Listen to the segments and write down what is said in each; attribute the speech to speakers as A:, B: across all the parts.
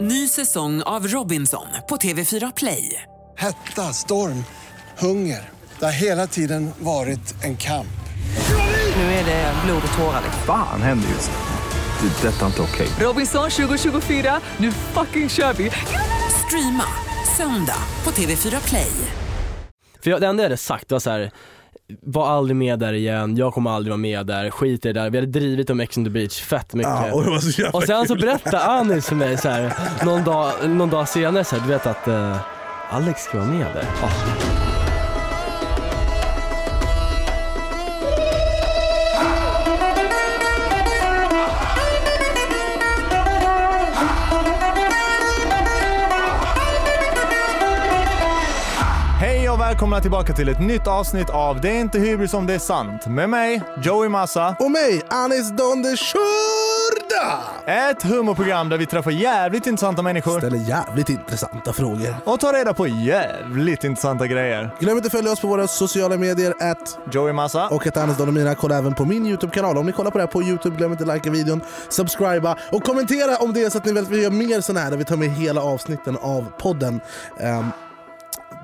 A: Ny säsong av Robinson på TV4 Play.
B: Hetta, storm, hunger. Det har hela tiden varit en kamp.
A: Nu är det blod och tårar.
C: Fan händer just nu. Det. är Detta är inte okej.
A: Robinson 2024, nu fucking kör vi! Streama söndag på TV4 Play.
D: För jag, det enda jag hade sagt var så här. Var aldrig med där igen, jag kommer aldrig vara med där, skit i det där. Vi hade drivit om Ex on the beach fett mycket.
E: Ja, och det var så jävla
D: Och sen så
E: kul.
D: berättade Anis för mig så här, någon, dag, någon dag senare så här, du vet att eh, Alex ska vara med där. Ja.
F: Hej och välkomna tillbaka till ett nytt avsnitt av Det är inte hybris om det är sant. Med mig, Joey Massa.
E: Och mig, Anis Don de Shurda!
F: Ett humorprogram där vi träffar jävligt intressanta människor
E: Ställer jävligt intressanta frågor.
F: och tar reda på jävligt intressanta grejer.
E: Glöm inte att följa oss på våra sociala medier att
F: Joey Massa.
E: och att Anis Don och mina. Kolla även på min YouTube-kanal. Om ni kollar på det här på YouTube, glöm inte att likea videon, subscriba och kommentera om det är så att ni vill att vi gör mer sådana här där vi tar med hela avsnitten av podden. Ehm,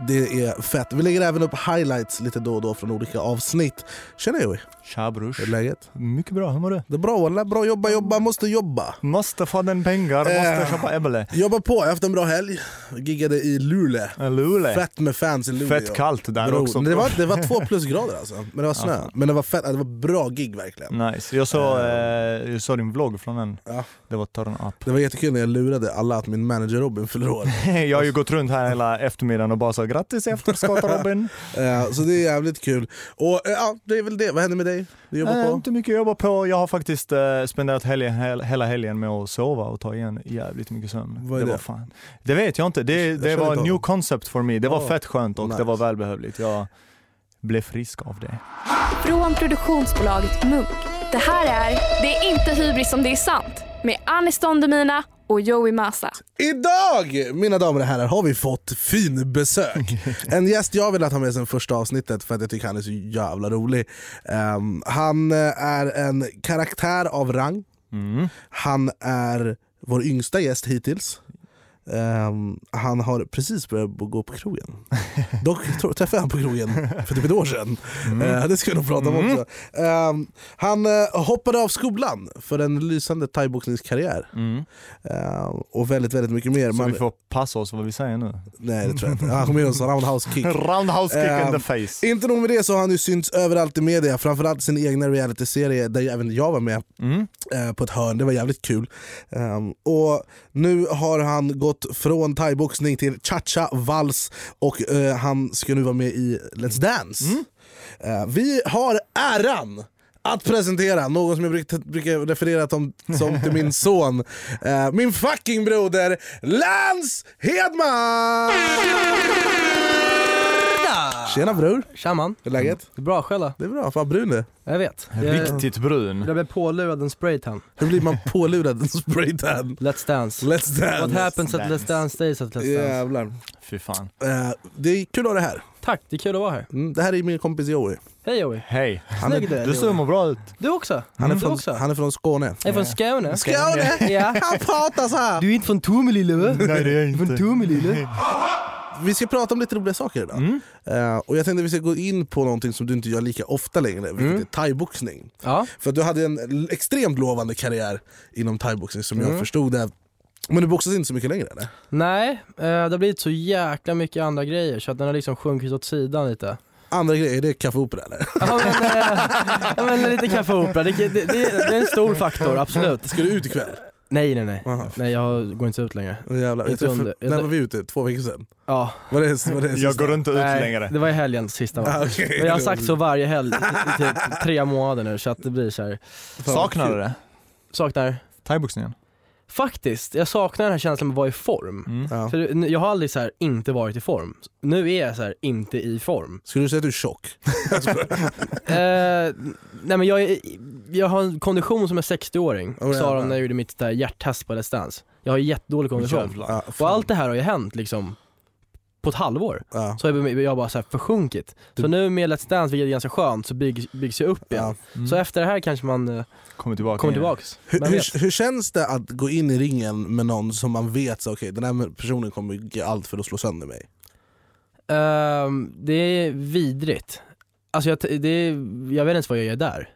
E: det är fett. Vi lägger även upp highlights lite då och då från olika avsnitt. Tjena Joey,
F: Tja brors.
E: hur är läget?
F: Mycket bra, hur mår du?
E: Det är bra walla, bra jobba, jobba, måste jobba.
F: Måste få den pengar,
E: Eh.
F: måste köpa Ebbele.
E: Jobba på, jag har haft en bra helg. Giggade i Luleå.
F: Luleå.
E: Fett med fans i Luleå.
F: Fett kallt där
E: Bror,
F: också.
E: men Det var, det var två plusgrader alltså, men det var snö. Men det var fett, det var bra gig verkligen.
F: Nice. Jag såg, eh, jag såg din vlogg från den.
E: Ja.
F: Det var turn up.
E: Det var jättekul när jag lurade alla att min manager Robin fyller år.
F: Jag har
E: Alltså-
F: ju gått runt här hela eftermiddagen och bara sa grattis i efterskott Robin.
E: Eh, så det är jävligt kul. Och eh, ja, det är väl det. Vad händer med dig? Du jobbar
F: Nej,
E: på?
F: Inte mycket att jobba på. Jag har faktiskt eh, spenderat helgen, hel, hela helgen med att sova och ta igen jävligt mycket sömn.
E: Vad är det?
F: Var fan. det vet jag inte. Det, det
E: känner
F: var
E: inte
F: new
E: av-
F: concept for me. Det var
E: Ja,
F: fett skönt och
E: nice.
F: det var välbehövligt. Jag blev frisk av det.
G: Från produktionsbolaget Munk. Det här är Det är inte hybris om det är sant med Anis Don Demina och Joey Massa.
E: Idag, mina damer och herrar, har vi fått fin besök. En gäst jag velat ha med sen första avsnittet för att jag tycker han är så jävla rolig. Ehm, han eh, är en karaktär av rang. Han är vår yngsta gäst hittills. Ehm, han har precis börjat bo- gå på krogen. Dock tro- träffade jag han på krogen för typ ett år sedan.
F: Mm.
E: Eh, det ska jag nog prata om också. Ehm, han eh, hoppade av skolan för en lysande thaiboxningskarriär. Ehm, och väldigt, väldigt mycket mer.
F: Så
E: Man-
F: Mm. vi får passa oss vad vi säger nu.
E: Nej det tror jag inte. Han kommer göra en sån roundhouse kick.
F: Roundhouse kick in
E: Ehm,
F: the face.
E: Inte nog med det så har han ju synts överallt i media, framförallt i sin egna realityserie där ju även jag var med
F: Mm.
E: eh, på ett hörn. Det var jävligt kul. Ehm, och nu har han gått från thaiboxning till cha-cha, vals och eh, han ska nu vara med i Let's Dance.
F: Mm.
E: Eh, vi har äran att presentera någon som jag bruk- brukar referera till, som till min son. Eh, min fucking broder Lance Hedman! Tjena bror!
D: Tja man.
E: Hur är läget?
D: Det är bra själv då?
E: Det är bra, fan brun du
D: Jag vet. Jag,
F: Riktigt brun.
D: jag blev pålurad en spraytan.
E: Hur blir man pålurad en spraytan?
D: Let's dance.
E: Let's
D: What
E: dance!
D: happens at Let's Dance stays at Let's Dance.
E: Jävlar.
F: Fy fan.
E: Eh, det är kul att ha det här.
D: Tack, det är kul att vara här.
E: Mm, det här är min kompis Joey.
D: Hej Joey.
F: Hej.
D: Snygg du är,
F: Du ser
D: Joey.
F: mår bra ut.
D: Du också.
E: Han är
D: du
E: från,
D: också.
E: han är från Skåne. Eh,
D: Jag är från Skåne.
E: Skåne!
D: Ja.
E: Han pratar så här.
D: Du är inte från Tomelilla va?
F: Nej det är jag
D: Från Tomelilla?
E: Vi ska prata om lite roliga saker idag.
D: Mm.
E: Eh, och jag tänkte vi ska gå in på någonting som du inte gör lika ofta längre, vilket
D: Mm.
E: är thaiboxning.
D: Ja.
E: För att du hade en l- extremt lovande karriär inom thaiboxning som
D: Mm.
E: jag förstod det. Men du boxas inte så mycket längre eller?
D: Nej, eh, det har blivit så jäkla mycket andra grejer så att den har liksom sjunkit åt sidan lite.
E: Andra grejer, det är Café Opera eller?
D: Ja men, eh, ja, men lite Café Opera, det, det, det, det är en stor faktor, absolut.
E: Ska du ut ikväll?
D: Nej nej nej, nej jag går inte ut längre.
E: Åh, jävlar. Jag
D: Inte
E: träffade,
D: under- jag
E: när
D: träff-
E: var vi ute? Två veckor sedan?
D: Ja,
E: Var det, var det
F: Jag
E: sista?
F: går inte ut längre.
D: det var i helgen sista va?
E: Ah, okej.
D: Men jag har sagt så varje helg i typ tre månader nu så att det blir så här.
F: Saknar du det?
D: saknar
F: Thaiboxningen?
D: Faktiskt, jag saknar den här känslan med att vara i form.
F: Mm.
E: Ja.
D: För nu- jag har aldrig så här inte varit i form. Nu är jag så här inte i form.
E: Skulle du säga att du är tjock?
D: Eh, nej men jag, är, jag har en kondition som en 60-åring,
E: Oh,
D: sa
E: jävlar.
D: de när jag gjorde mitt där hjärttest på Let's Dance. Jag har jättedålig kondition.
F: Jävlar.
E: Ja,
D: Och
E: Ah, fan.
D: allt det här har ju hänt liksom på ett halvår.
E: Ja.
D: Så har jag, jag bara så här försjunkit. Så nu med Let's Dance, vilket är ganska skönt, så byggs, byggs jag upp igen. Så efter det här kanske man eh,
F: Kommer tillbaka.
D: kommer
F: igen.
D: tillbaks.
E: Mm. Hur,
D: Vem vet?
E: hur, hur känns det att gå in i ringen med någon som man vet så, okay, den här personen kommer ge allt för att slå sönder mig?
D: Ehm, det är vidrigt. Alltså jag, t- det är, jag vet inte ens vad jag gör där.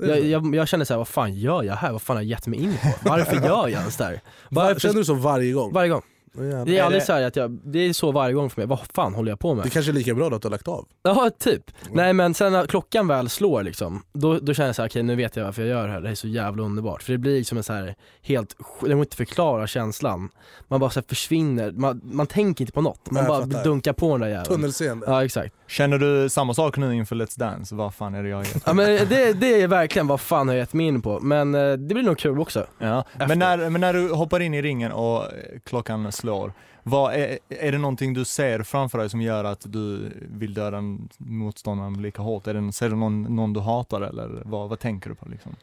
D: Jag, jag, jag känner såhär, vad fan gör jag här? Vad fan har jag gett mig in på? Varför gör jag ens där?
E: Var,
D: Varför?
E: känner du så varje gång?
D: Varje gång.
E: Åh, jävlar.
D: Det är,
F: Är
D: aldrig
F: det-
D: så här att jag, det är så varje gång för mig. Vad fan håller jag på med?
E: det kanske är lika bra då att du Mm. har lagt av?
D: Ja, typ. Nej men sen när klockan väl slår liksom, då, då känner jag såhär, okej nu vet jag varför jag gör det här, det här är så jävla underbart. För det blir liksom en så här helt, sj- det går inte att förklara känslan. Man bara så här försvinner, man, man tänker inte på något. Man
E: Nej, jag
D: bara
E: fattar.
D: dunkar på den där jäveln.
E: Tunnelseende.
D: Ja exakt.
F: Känner du samma sak nu inför Let's Dance? Vad fan är det jag gör?
D: Ja men det, det är verkligen vad fan har jag gett mig in på. Men eh, det blir nog kul också.
F: Ja.
D: Efter.
F: Men, när, men när du hoppar in i ringen och eh, klockan slår, vad är, är det någonting du ser framför dig som gör att du vill döda en- motståndaren lika hårt? Är det, ser du någon, någon du hatar eller vad, vad tänker du på? Liksom?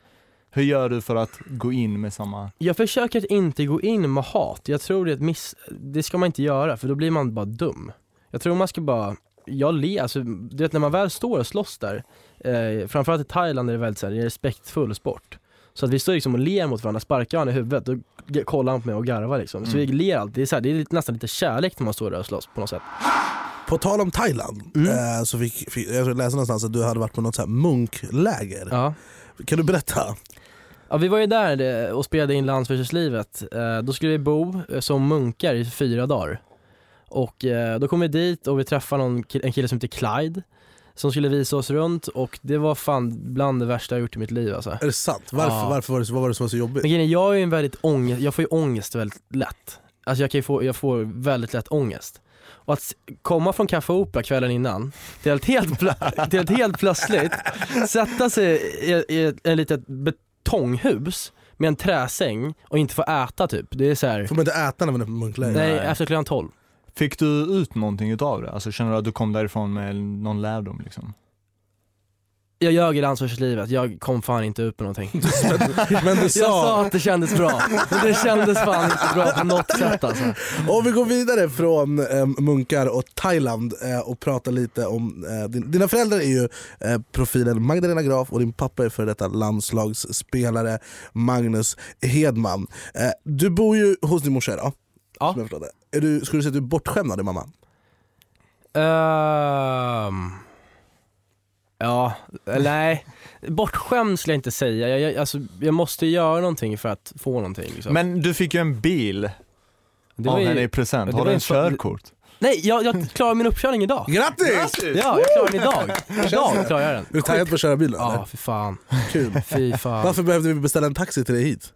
F: Hur gör du för att gå in med samma...
D: Jag försöker att inte gå in med hat. Jag tror det är ett miss... Det ska man inte göra för då blir man bara dum. Jag tror man ska bara... Jag le, alltså, du vet när man väl står och slåss där, eh, framförallt i Thailand är det väldigt så här, det är respektfull sport. Så att vi står liksom och ler mot varandra, sparkar varandra i huvudet, då g- kollar han på mig och garvar liksom. Så vi ler alltid, det är, så här, det är lite- nästan lite kärlek när man står där och slåss på något sätt.
E: På tal om Thailand,
D: Mm.
E: eh, så fick, fick, jag läste någonstans att du hade varit på något så här munkläger.
D: Ja.
E: Kan du berätta?
D: Ja, vi var ju där eh, och spelade in Landsförsäljningslivet. Då skulle vi bo eh, som munkar i fyra dagar. Och eh, då kom vi dit och vi träffade någon, ki- en kille som heter Clyde som skulle visa oss runt och det var fan bland det värsta jag gjort i mitt liv alltså.
E: Är det sant? Varför,
D: Ja.
E: varför var det, så- vad var det som var så jobbigt?
D: Men grejen är, jag är ju en väldigt ångest, jag får ju ångest väldigt lätt. Alltså jag, kan ju få, jag får väldigt lätt ångest. Och att s- komma från Café Opera kvällen innan till att helt, plö- till att helt plötsligt sätta sig i, i ett en litet betonghus med en träsäng och inte få äta typ. Det är så här,
E: Får man inte äta när man är på munkläger?
D: nej efter klockan 12.
F: Fick du ut någonting utav det? Alltså, känner du att du kom därifrån med någon lärdom? Liksom?
D: Jag ljög i landslagslivet, jag kom fan inte ut på någonting.
E: Men du
D: Jag
E: sa...
D: sa att det kändes bra, men det kändes fan inte bra på något sätt alltså.
E: Om vi går vidare från eh, munkar och Thailand eh, och pratar lite om... Eh, din, dina föräldrar är ju eh, profilen Magdalena Graf och din pappa är för detta landslagsspelare Magnus Hedman. Eh, du bor ju hos din morsa idag.
D: Ja.
E: Som jag förstår det. Är du, skulle du säga att du är bortskämd av din mamma?
D: Ehm, ja, nej. Bortskämd skulle jag inte säga. Jag, jag, alltså, jag måste göra någonting för att få någonting. Liksom.
F: Men du fick ju en bil
D: det
F: av
D: ju-
F: henne i present.
D: det
F: Har
D: var
F: du
D: ju
F: en
D: fan-
F: körkort?
D: Nej, jag, jag klarar min uppkörning idag.
E: Grattis!
D: Ja, jag klarar den idag. Idag klarar jag den.
E: Är du taggad på att köra bilen?
D: Ja,
E: eller?
D: fy fan.
E: Kul.
D: Fy fan.
E: Varför behövde vi beställa en taxi till dig hit?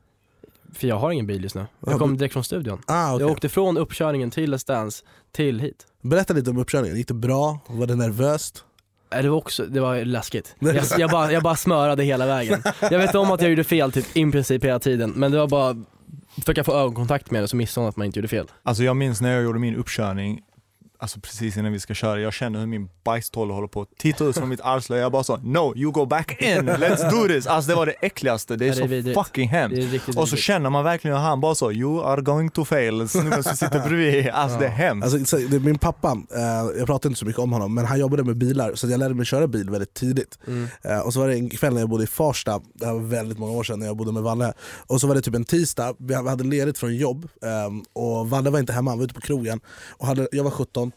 D: För jag har ingen bil just nu. Jag kom direkt från studion.
E: Ah,
D: Jag
E: okay.
D: åkte från uppkörningen till Let's Dance till hit.
E: Berätta lite om uppkörningen, gick det bra? Var det nervöst?
D: Nej, Äh, Det var också, det var läskigt. Jag, jag, bara, jag bara smörade hela vägen. Jag vet om att jag gjorde fel typ i princip hela tiden, men det var bara, försöka få ögonkontakt med det så missade hon att man inte gjorde fel.
F: Alltså jag minns när jag gjorde min uppkörning, alltså precis innan vi ska köra, jag känner hur min bajstolle håller på att titta ut från mitt arsle. Jag bara sa no, you go back in, let's do this. Alltså det var det äckligaste, det är,
D: Ja, det är
F: så
D: vidrigt.
F: fucking
D: Det är
F: hemskt.
D: riktigt
F: Och så
D: vidrigt.
F: känner man verkligen hur han bara sa you are going to fail, snubben som sitter bredvid. Alltså det är hemskt.
E: Alltså, så- det, min pappa, eh, jag pratar inte så mycket om honom, men han jobbade med bilar så jag lärde mig köra bil väldigt tidigt. Eh, och så var det en kväll när jag bodde i Farsta, det här var väldigt många år sedan när jag bodde med Valle. Och så var det typ en tisdag, vi hade ledigt från jobb ehm, och Valle var inte hemma, han var ute på krogen. Och hade, jag var 17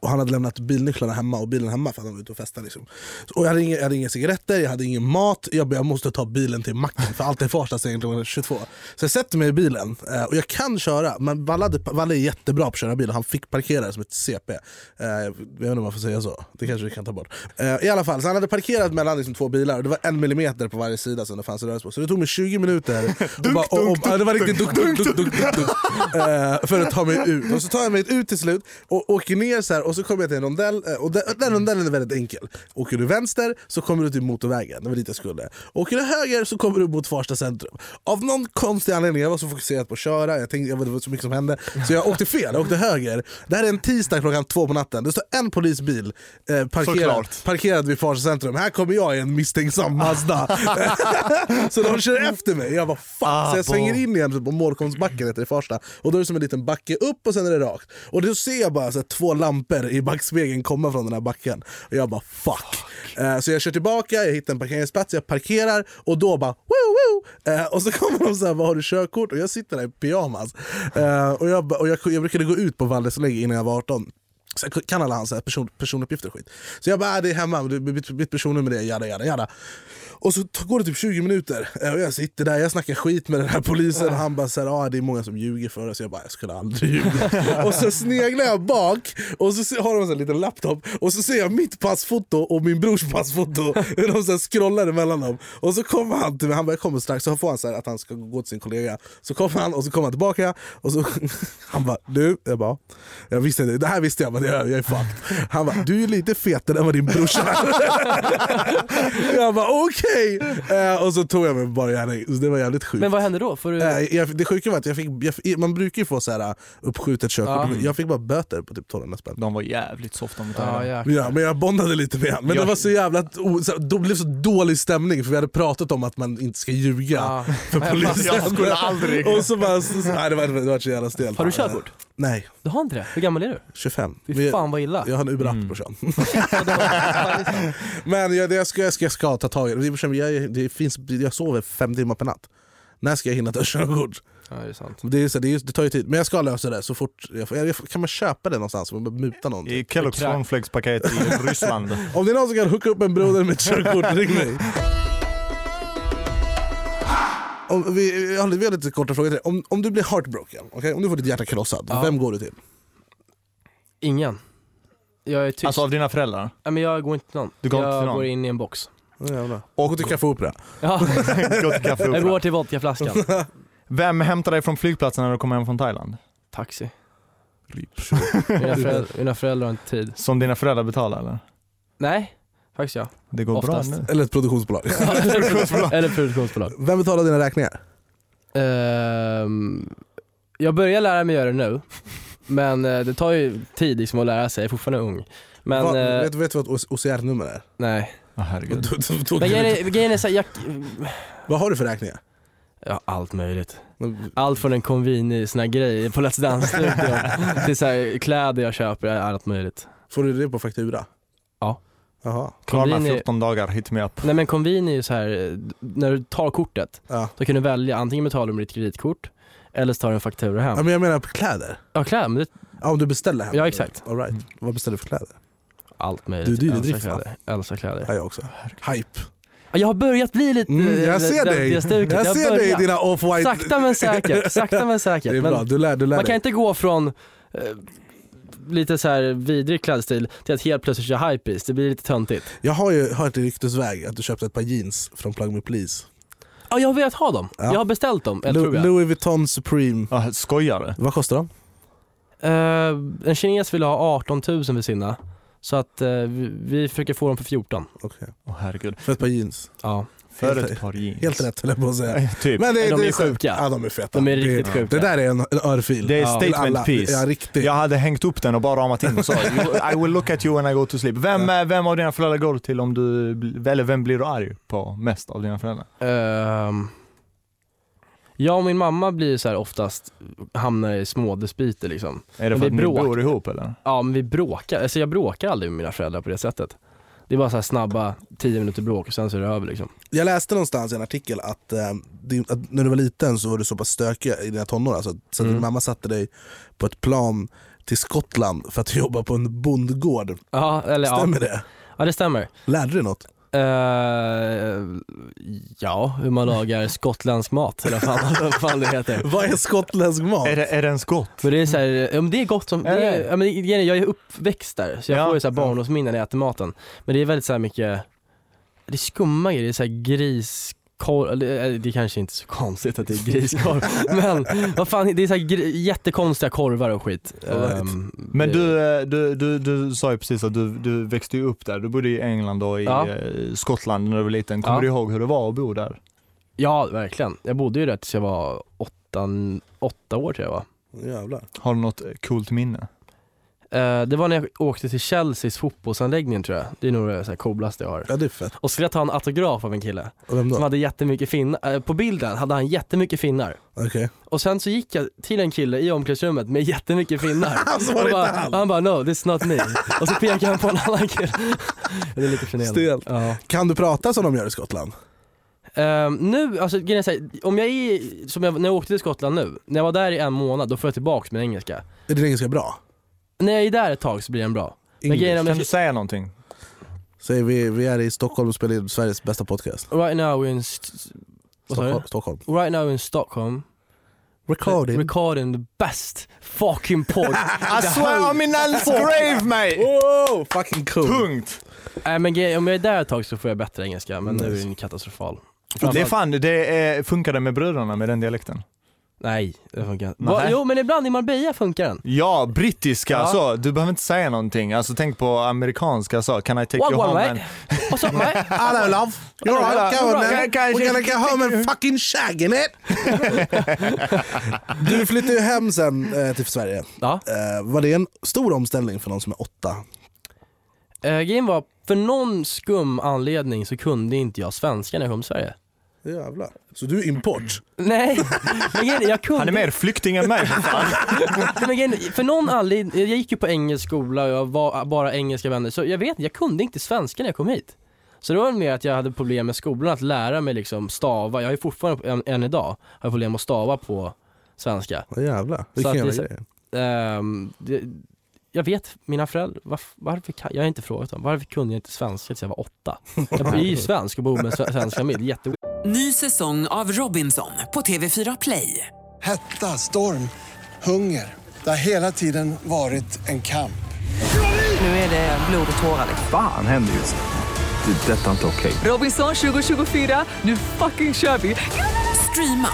E: och han hade lämnat bilnycklarna hemma och bilen hemma för att han var ute och festade. Liksom. Så- Och jag, hade inga, jag hade inga cigaretter, jag hade ingen mat, jag, bara, jag måste ta bilen till macken för allt är Farsta stänger klockan 22. Så jag sätter mig i bilen eh, och jag kan köra, men Valle, hade, Valle är jättebra på att köra bil och han fick parkera som ett CP. Eh, Jag vet inte om man får säga så, det kanske vi kan ta bort. Eh, I alla fall, så han hade parkerat mellan liksom, två bilar och det var en millimeter på varje sida som det fanns rörelse på. Så det tog mig 20 minuter, och bara, och, och, ja, det var riktigt dunk, dunk, dunk, dunk, dunk, dunk, eh, för att ta mig ut. Och så tar jag mig ut till slut och åker ner så så här, och så kommer jag till en rondell, eh, och den, den rondellen är väldigt enkel. Åker du vänster så kommer du till motorvägen, det var dit jag skulle. Åker du höger så kommer du mot Farsta centrum. Av någon konstig anledning, jag var så fokuserad på att köra, jag tänkte, jag vet, det var så mycket som hände, så jag åkte fel, jag åkte höger. Det här är en tisdag klockan två på natten, det står en polisbil eh, parkerad,
F: Såklart.
E: parkerad vid Farsta centrum. Här kommer jag i en misstänksam Mazda. så de kör efter mig, jag bara fuck. så jag svänger in igen typ på Mårkomsbacken heter det i Farsta. Och då är det som en liten backe upp och sen är det rakt. Och då ser jag bara så här, två lampor i backspegeln komma från den här backen. Och jag bara fuck. Eh, så jag kör tillbaka, jag hittar en parkeringsplats, jag parkerar och då bara woo woo. Eh, och så kommer de så här, vad har du körkort? Och jag sitter där i pyjamas. Eh, och jag, ba- och jag, jag brukade gå ut på Valles läge innan jag var 18. Så jag kan alla hans så här person, personuppgifter och skit. Så jag bara, äh, det är hemma, du- mitt, mitt personnummer är jada jada jada. Och så t- går det typ 20 minuter eh, och jag sitter där, jag snackar skit med den här polisen och han bara såhär, ah, det är många som ljuger för oss. Jag bara, jag skulle aldrig ljuga. och så sneglar jag bak och så se- har de en sån här liten laptop och så ser jag mitt passfoto och min brors passfoto hur de så här scrollar emellan dem. Och så kommer han till mig, han bara, jag kommer strax, så får han så här att han ska gå till sin kollega. Så kommer han och så kommer han tillbaka och så han bara, du, jag bara, jag visste det, det här visste jag, men det- jag är fucked. Han bara, du är lite fetare än vad din brorsa är. Jag bara okej! Eh, och så tog jag mig bara gärning. Så Det var jävligt sjukt.
D: Men vad hände då? Får du...
E: Eh, jag, det sjuka var att jag fick, jag, fick- man brukar ju få så här, eh, uppskjutet körkort,
D: Ja.
E: jag fick bara böter på typ 1200 spänn.
F: De var jävligt softa mot
D: Ja,
F: varandra.
D: jäklar.
E: Ja, men jag bondade lite med honom. Men
F: Jag-
E: det var så jävla o- så, det blev så dålig stämning för vi hade pratat om att man inte ska ljuga
D: Ja.
E: för polisen.
F: jag skulle aldrig.
E: Och så bara, så, så, nej, det, var, det var så jävla stelt.
D: Har du körkort?
E: Nej,
D: Du har inte det? Hur gammal är du?
E: 25.
D: Fy
E: Men-
D: fan vad illa.
E: Jag har en Uber mm. på kön.
D: liksom-
E: Men jag, jag, ska, jag, ska, jag ska ta tag i det. det. är för sig- Jag, det finns, jag sover fem timmar per natt. När ska jag hinna ta körkort?
D: Ja, det är sant.
E: Det, är, så- det, är, det tar ju tid, men jag ska lösa det så fort jag, får- jag, får- Kan man köpa det någonstans? Om man muta någon?
F: I Kellogg's
D: Krak.
F: cornflakes-paket i Ryssland.
E: Om det är någon som kan hooka upp en broder med ett körkort, ring mig. Om vi, vi har vi har lite korta frågor till dig. Om, om du blir heartbroken, okay? om du får ditt hjärta krossat,
D: Ja.
E: vem går du till?
D: Ingen. Jag är tyst.
F: Alltså av dina föräldrar.
D: Nej, men jag går inte till någon.
F: Du går
D: jag
F: inte till någon?
D: går in i en box.
E: Och gå till Café Opera.
D: Ja,
F: Gå till Café
D: jag
F: Opera.
D: går till vodkaflaskan.
F: Vem hämtar dig från flygplatsen när du kommer hem från Thailand?
D: Taxi. Mina, föräldrar, mina föräldrar har inte tid.
F: Som dina föräldrar betalar eller?
D: Nej, faktiskt jag.
F: Det går
D: Oftast.
F: bra nu.
E: Eller ett produktionsbolag.
D: Eller produktionsbolag.
E: Vem betalar dina räkningar?
D: Ehm, jag börjar lära mig göra det nu, men eh, det tar ju tid liksom att lära sig, jag är fortfarande ung. Men
E: Vad-
D: eh,
E: vet, du- vet du vad ett OCR-nummer är?
D: nej.
F: Ja, herregud.
E: Då- då- då-
D: Men grejen är, grejen är så här, jag,
E: Vad har du för räkningar?
D: ja, allt möjligt.
E: Men-
D: Allt från en konvini, såna här grejer på Let's Dance-studion till så här, kläder jag köper, allt möjligt.
E: Får du det på faktura?
D: Ja.
E: Jaha.
F: Klara med
D: Konvini-
F: 14 dagar, hit me up.
D: Nej men konvini är ju så här eh, när du tar kortet,
E: Ja.
D: då kan du välja antingen betalar du med ditt kreditkort eller så tar du en faktura
E: Ja,
D: hem.
E: men jag menar på kläder.
D: Ja kläder, men det,
E: Ja, om du beställer hem.
D: Ja, exakt.
E: All right. Vad beställer du för kläder?
D: allt möjligt.
E: Du är dyr i
D: Älskar
E: drift, va?
D: kläder. Älskar kläder.
E: Ja, jag också. Hype.
D: Ja, Jag har börjat bli lite...
E: Mm,
D: eh,
E: jag ser
D: det-
E: dig.
D: det stuket.
E: Jag
D: har
E: ser dig i
D: börjat.
E: dina off-white.
D: Sakta men säkert, sakta men
E: Det
D: säkert.
E: är bra,
D: men
E: du lär, du lär
D: man kan
E: dig.
D: inte gå från eh, lite så här vidrig klädstil till att helt plötsligt köra hypebeast, det blir lite töntigt.
E: Jag har ju hört i ryktesväg att du köpte ett par jeans från Plug Me Please.
D: Ja, jag har velat ha dem.
E: Ja.
D: Jag har beställt dem, eller
E: Lu-
D: tror jag.
E: Louis Vuitton Supreme.
F: Ah, skojar du?
E: Vad kostar de?
D: Eh, en kines ville ha 18 000 för sina, så att eh, vi, vi försöker få dem för 14.
E: Okej.
F: Åh herregud.
E: För ett par jeans.
D: Ja.
F: För
E: Helt-
F: ett par jeans.
E: Helt rätt höll jag på att säga.
F: Eh, Typ.
E: Men det,
D: De
E: det
D: är
E: så-
D: sjuka.
E: Ja, de är feta.
D: De är riktigt
E: det,
D: sjuka.
E: Det där är en, en örfil.
F: Det är
E: Till
F: statement
E: alla.
F: piece.
E: Ja, riktigt.
F: Jag hade hängt upp den och bara ramat in och sa "You- I will look at you when I go to sleep. Vem, eh, vem av dina föräldrar går du till om du, bl- eller vem blir du arg på mest av dina föräldrar?
D: Ehm, jag och min mamma blir ju så här oftast, hamnar i smådispyter liksom.
F: Är det
D: Men
F: för
D: vi
F: att ni
D: bråkar.
F: bor ihop eller?
D: Ja men vi bråkar, alltså jag bråkar aldrig med mina föräldrar på det sättet. Det är bara så här snabba 10 minuter bråk och sen så är det över liksom.
E: Jag läste någonstans i en artikel att, eh, din, att när du var liten så var du så pass stökig i dina tonår alltså, så
D: Mm.
E: att din mamma satte dig på ett plan till Skottland för att jobba på en bondgård.
D: Ja, eller
E: Stämmer
D: ja.
E: det?
D: Ja det stämmer.
E: Lärde du dig något?
D: Eh, ja, hur man lagar skottländsk mat eller vad fan, vad fan det heter.
E: Vad är skottländsk mat?
F: Är det, är det en skott?
D: Men det är så här, ja, men det är gott som, det
F: Är
D: är,
F: det?
D: ja, men grejen är, jag är uppväxt där så jag
F: Ja.
D: får ju så här barndomsminnen när jag äter maten. Men det är väldigt så här mycket, det är skumma grejer, det är så här gris, korv, eller, eh, det kanske inte är så konstigt att det är griskorv, men vad fan, det är så här gri- jättekonstiga korvar och skit.
E: Alright.
D: Ehm,
F: Men
D: det-
F: du, eh, du, du, du sa ju precis att du, du växte ju upp där, du bodde i England och i
D: Ja.
F: eh, Skottland när du var liten. Kommer
D: Ja.
F: du ihåg hur det var att bo där?
D: Ja, verkligen. Jag bodde ju där tills jag var åtta, åtta år tror jag va.
E: Jävlar.
F: Har du något coolt minne?
D: Eh, Det var när jag åkte till Chelseas fotbollsanläggning tror jag. Det är nog det så här coolaste jag har.
E: Ja det är fett.
D: Och så skulle jag ta en autograf av en kille
E: Och vem
D: som
E: då?
D: hade jättemycket finnar. Eh, På bilden hade han jättemycket finnar.
E: Okej.
D: Och sen så gick jag till en kille i omklädningsrummet med jättemycket finnar.
E: Så var det
D: och bara,
E: inte han.
D: han bara no this is not me. Och så pekade han på en annan kille. Det är lite generande.
E: Stelt.
D: Ja.
E: Kan du prata som de gör i Skottland?
D: Ehm, nu, alltså grejen är så här, om jag är, som jag, när jag åkte till Skottland nu, när jag var där i en månad då får jag tillbaka min engelska.
E: Är din engelska bra?
D: När jag är där ett tag så blir den bra. Men
E: English.
D: grejen är om
F: Kan
D: jag,
F: du säga någonting?
E: Säg, vi, vi är i Stockholm och spelar in Sveriges bästa podcast.
D: right now in, st- vad sa du?
E: Stockholm. Stockholm.
D: Right now in Stockholm,
E: Recording.
D: recording the best fucking pod.
F: I swear I'm in Alice grave mate!
E: Wow, fucking cool.
F: Punkt!
D: Nej men grejen, om jag är där ett tag så får jag bättre engelska, men nu är den katastrofal.
F: Det är fan, det är, funkar det med bröderna med den dialekten?
D: Nej, det funkar inte.
F: Nej.
D: Va- Jo men ibland i Marbella funkar den.
F: Ja, brittiska
D: Ja.
F: så. Du behöver inte säga någonting. Alltså tänk på amerikanska så. Can I take
D: One
F: you
D: one
F: home?
D: mate,
F: and-
D: what's up mate?
E: Hello love, you're
D: Hello,
E: right, go on
D: hello.
E: then.
F: Guys,
E: We're gonna
F: guys,
E: go home and fucking shag in it. du flyttade ju hem sen eh, till Sverige.
D: Ja.
E: Eh, var det en stor omställning för någon som är åtta?
D: Eh, grejen var, för någon skum anledning så kunde inte jag svenska när jag kom till Sverige.
E: Jävlar. Så du är import?
D: Nej, men grejen, är, jag kunde
F: Han är mer flykting än mig för fan.
D: Nej, men grejen- för någon anledning, jag gick ju på engelsk skola och jag var bara engelska vänner, så jag vet inte, jag kunde inte svenska när jag kom hit. Så det var väl mer att jag hade problem med skolan, att lära mig liksom stava, jag har ju fortfarande, än, än idag, har jag problem att stava på svenska.
E: Ja, jävlar.
D: Så
E: Vilken
D: att
E: jävla
D: det är
E: grej.
D: Ehm, det, jag vet, mina föräldrar, varf, varför kan, jag har inte frågat dem, varför kunde jag inte svenska tills jag var åtta? Jag är ju svensk och bor med en sve- svensk familj, jätte
A: Ny säsong av Robinson på TV4 Play.
B: Hetta, storm, hunger. Det har hela tiden varit en kamp.
A: Nu är det blod och tårar. liksom.
C: Fan händer just nu. Det är detta inte okej.
A: Robinson 2024, nu fucking kör vi! Streama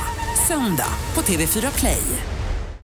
A: söndag på TV4 Play.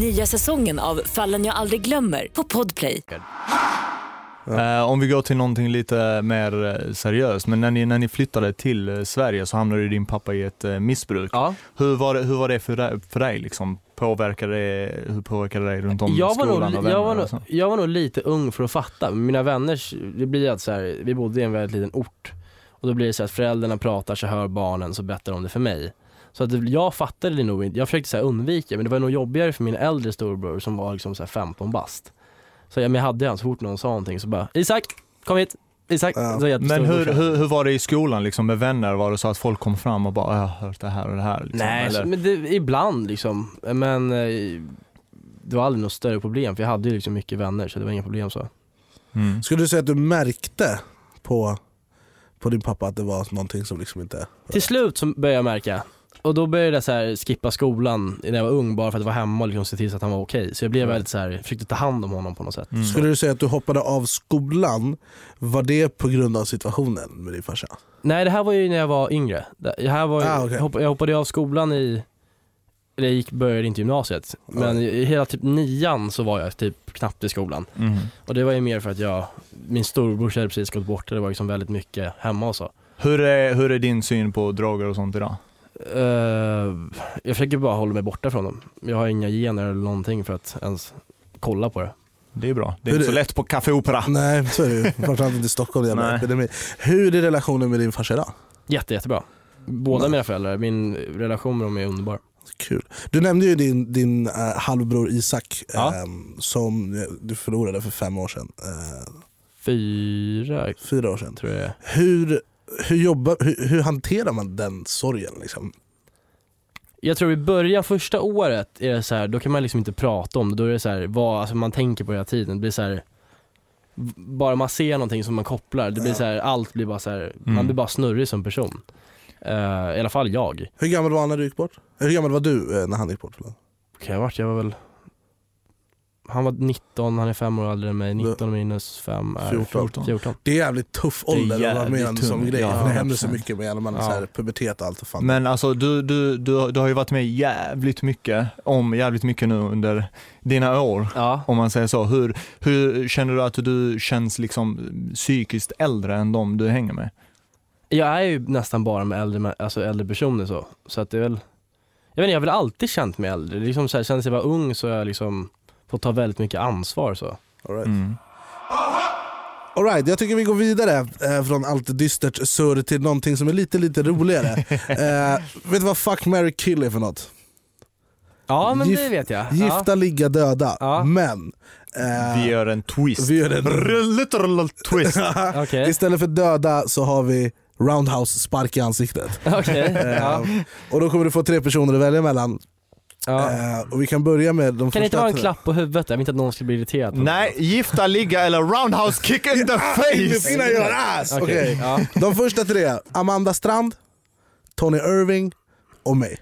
H: Nya säsongen av Fallen jag aldrig glömmer på Podplay.
F: Eh, om vi går till någonting lite mer eh, seriöst, men när ni, när ni flyttade till eh, Sverige så hamnade ju din pappa i ett eh, missbruk.
D: Ja.
F: Hur, var det, hur var det för dig, för dig liksom? Påverkade det, hur påverkade det dig runt om
D: jag var,
F: skolan
D: nog,
F: och vänner
D: jag, var
F: och
D: nog,
F: så?
D: jag var nog lite ung för att fatta. Mina vänners, det blir att så här, vi bodde i en väldigt liten ort och då blir det så att föräldrarna pratar, så hör barnen, så berättar de det för mig. Så att det- jag fattade det nog inte, jag försökte så här undvika men det var nog jobbigare för min äldre storbror som var liksom så här 15 bast. Så jag, men jag hade han så fort någon sa någonting så bara Isak, kom hit! Isak!
E: Ja.
D: Så jag-
F: Men hur, hur, hur var det i skolan liksom, med vänner? Var det så att folk kom fram och bara "Ah, “jag har hört det här och det här”? Liksom,
D: Nej, alltså-
F: eller?
D: men det, ibland liksom. Men eh, det var aldrig något större problem för jag hade ju liksom mycket vänner så det var inga problem så.
F: Mm.
E: Skulle du säga att du märkte på, på din pappa att det var någonting som liksom inte...
D: Till slut så började jag märka och då började jag så här skippa skolan när jag var ung bara för att vara hemma och liksom se till så att han var okej. Så jag blev
E: Mm.
D: väldigt så här, försökte ta hand om honom på något sätt.
I: Mm.
E: Skulle du säga att du hoppade av skolan, var det på grund av situationen med din farsa?
D: Nej det här var ju när jag var yngre. Det det här var ju,
E: Ah, okej.
D: jag hopp- jag hoppade ju av skolan i, eller jag gick, började inte gymnasiet. Men i- i hela typ nian så var jag typ knappt i skolan.
F: Mm.
D: Och det var ju mer för att jag, min storbror hade precis gått bort och det var liksom väldigt mycket hemma och så.
F: Hur, är, hur är din syn på droger och sånt idag?
D: Eh, jag försöker bara hålla mig borta från dem. Jag har inga gener eller någonting för att ens kolla på det.
F: Det är bra. Det är
E: Hur
F: inte
E: är-
F: så lätt på Café Opera.
E: Nej, så är det ju. Framförallt inte i Stockholm. Jävla
F: Nej.
E: epidemi. Hur är relationen med din farsa idag?
D: Jätte, jättebra. Båda mina föräldrar, min relation med dem är underbar.
E: Kul. Du nämnde ju din, din eh, halvbror Isak
D: Ja.
E: ehm, som eh, du förlorade för fem år sedan. Eh,
D: Fyra
E: fyra år sedan.
D: tror jag det är.
E: Hur, hur, jobbar, hur, hur hanterar man den sorgen? Liksom?
D: Jag tror i början, första året, är det så här, då kan man liksom inte prata om det. Då är det så här, vad, alltså man tänker på det hela tiden. Det blir så här, v- bara man ser någonting som man kopplar, det blir så här, allt blir bara så här, man blir bara snurrig som person. Eh, I alla fall jag.
E: Hur gammal var han när du gick bort? Eh, Hur gammal var du eh, när han gick bort? Förlåt.
D: Kan jag ha varit? Jag var väl han var 19, han är fem år äldre än mig. 19 minus 5 är
E: 14.
D: 14. 14.
E: Det är jävligt tuff
F: är
E: ålder att vara med
F: jävligt
E: om en sån
F: tung.
E: grej.
F: Ja,
E: för det händer så
F: 100%.
E: mycket med hjärnan, man har så här pubertet och allt. och Fan.
F: Men alltså du, du, du, du har ju varit med jävligt mycket, om jävligt mycket nu under dina år.
D: Ja.
F: Om man säger så. Hur, hur känner du att du känns liksom psykiskt äldre än de du hänger med?
D: Jag är ju nästan bara med äldre, mä- alltså äldre personer så. Så att det är väl, jag vet inte, jag har väl alltid känt mig äldre. Det är Liksom så här, känns jag var ung så har jag liksom fått ta väldigt mycket ansvar så.
E: All right.
F: Mm.
E: All right, jag tycker vi går vidare eh, från allt dystert surr till någonting som är lite, lite roligare. eh, vet du vad fuck, marry, kill är för något?
D: Ja men
E: Gif-
D: det vet jag.
E: Gifta,
D: Ja.
E: ligga, döda.
D: Ja.
E: Men eh,
F: Vi gör en twist.
E: vi gör en
F: Literal twist.
D: Okej,
E: Istället för döda så har vi roundhouse spark i ansiktet.
D: okej. Ja.
E: Eh, och då kommer du få tre personer att välja mellan.
D: Ja.
E: Eh, och vi kan börja med de
D: Kan det inte
E: första
D: vara en
E: tre.
D: klapp på huvudet? Jag vill inte att någon ska bli irriterad. på
F: Nej, gifta, ligga eller roundhouse kick in the face.
E: Innan jag gör ass!
D: Okej,
E: Okej.
D: ja.
E: De första tre, Amanda Strand, Tony Irving och mig.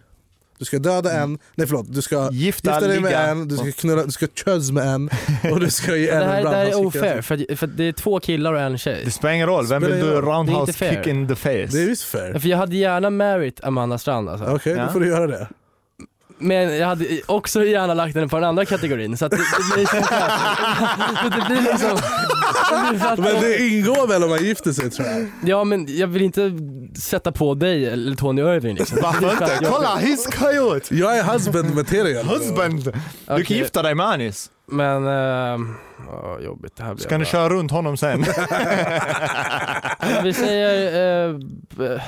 E: Du ska döda en, nej förlåt, du ska
F: Mm. Gifta,
E: dig med
F: ligga.
E: en, du ska knulla, du ska kös med en och du ska ge en
D: Det här,
E: en
D: det här är
E: roundhouse kick.
D: ofair, för, att- för att det är två killar och en tjej.
F: Det spelar ingen roll, vem vill
E: Spelar
F: du
E: ingen roll.
F: roundhouse
D: Det är inte
F: kick
D: fair.
F: in the face?
E: Det är visst fair.
D: För jag hade gärna married Amanda Strand alltså.
E: Okej,
F: Ja.
E: då får du göra det.
D: Men jag hade också gärna lagt den på den andra kategorin så att det, det blir så här- Men det blir liksom... det blir för att-
E: Men det ingår väl om man gifter sig tror jag.
D: Ja men jag vill inte sätta på dig eller Tony Irving liksom.
F: Varför inte? Kolla, his coyote!
E: Jag är husband material.
F: Husband! Du kan
D: Okej.
F: gifta dig med Anis.
D: Men, ehm, ja, jobbigt det här blir.
F: Så kan du
D: bara-
F: köra runt honom sen.
D: Vi säger... eh, eh,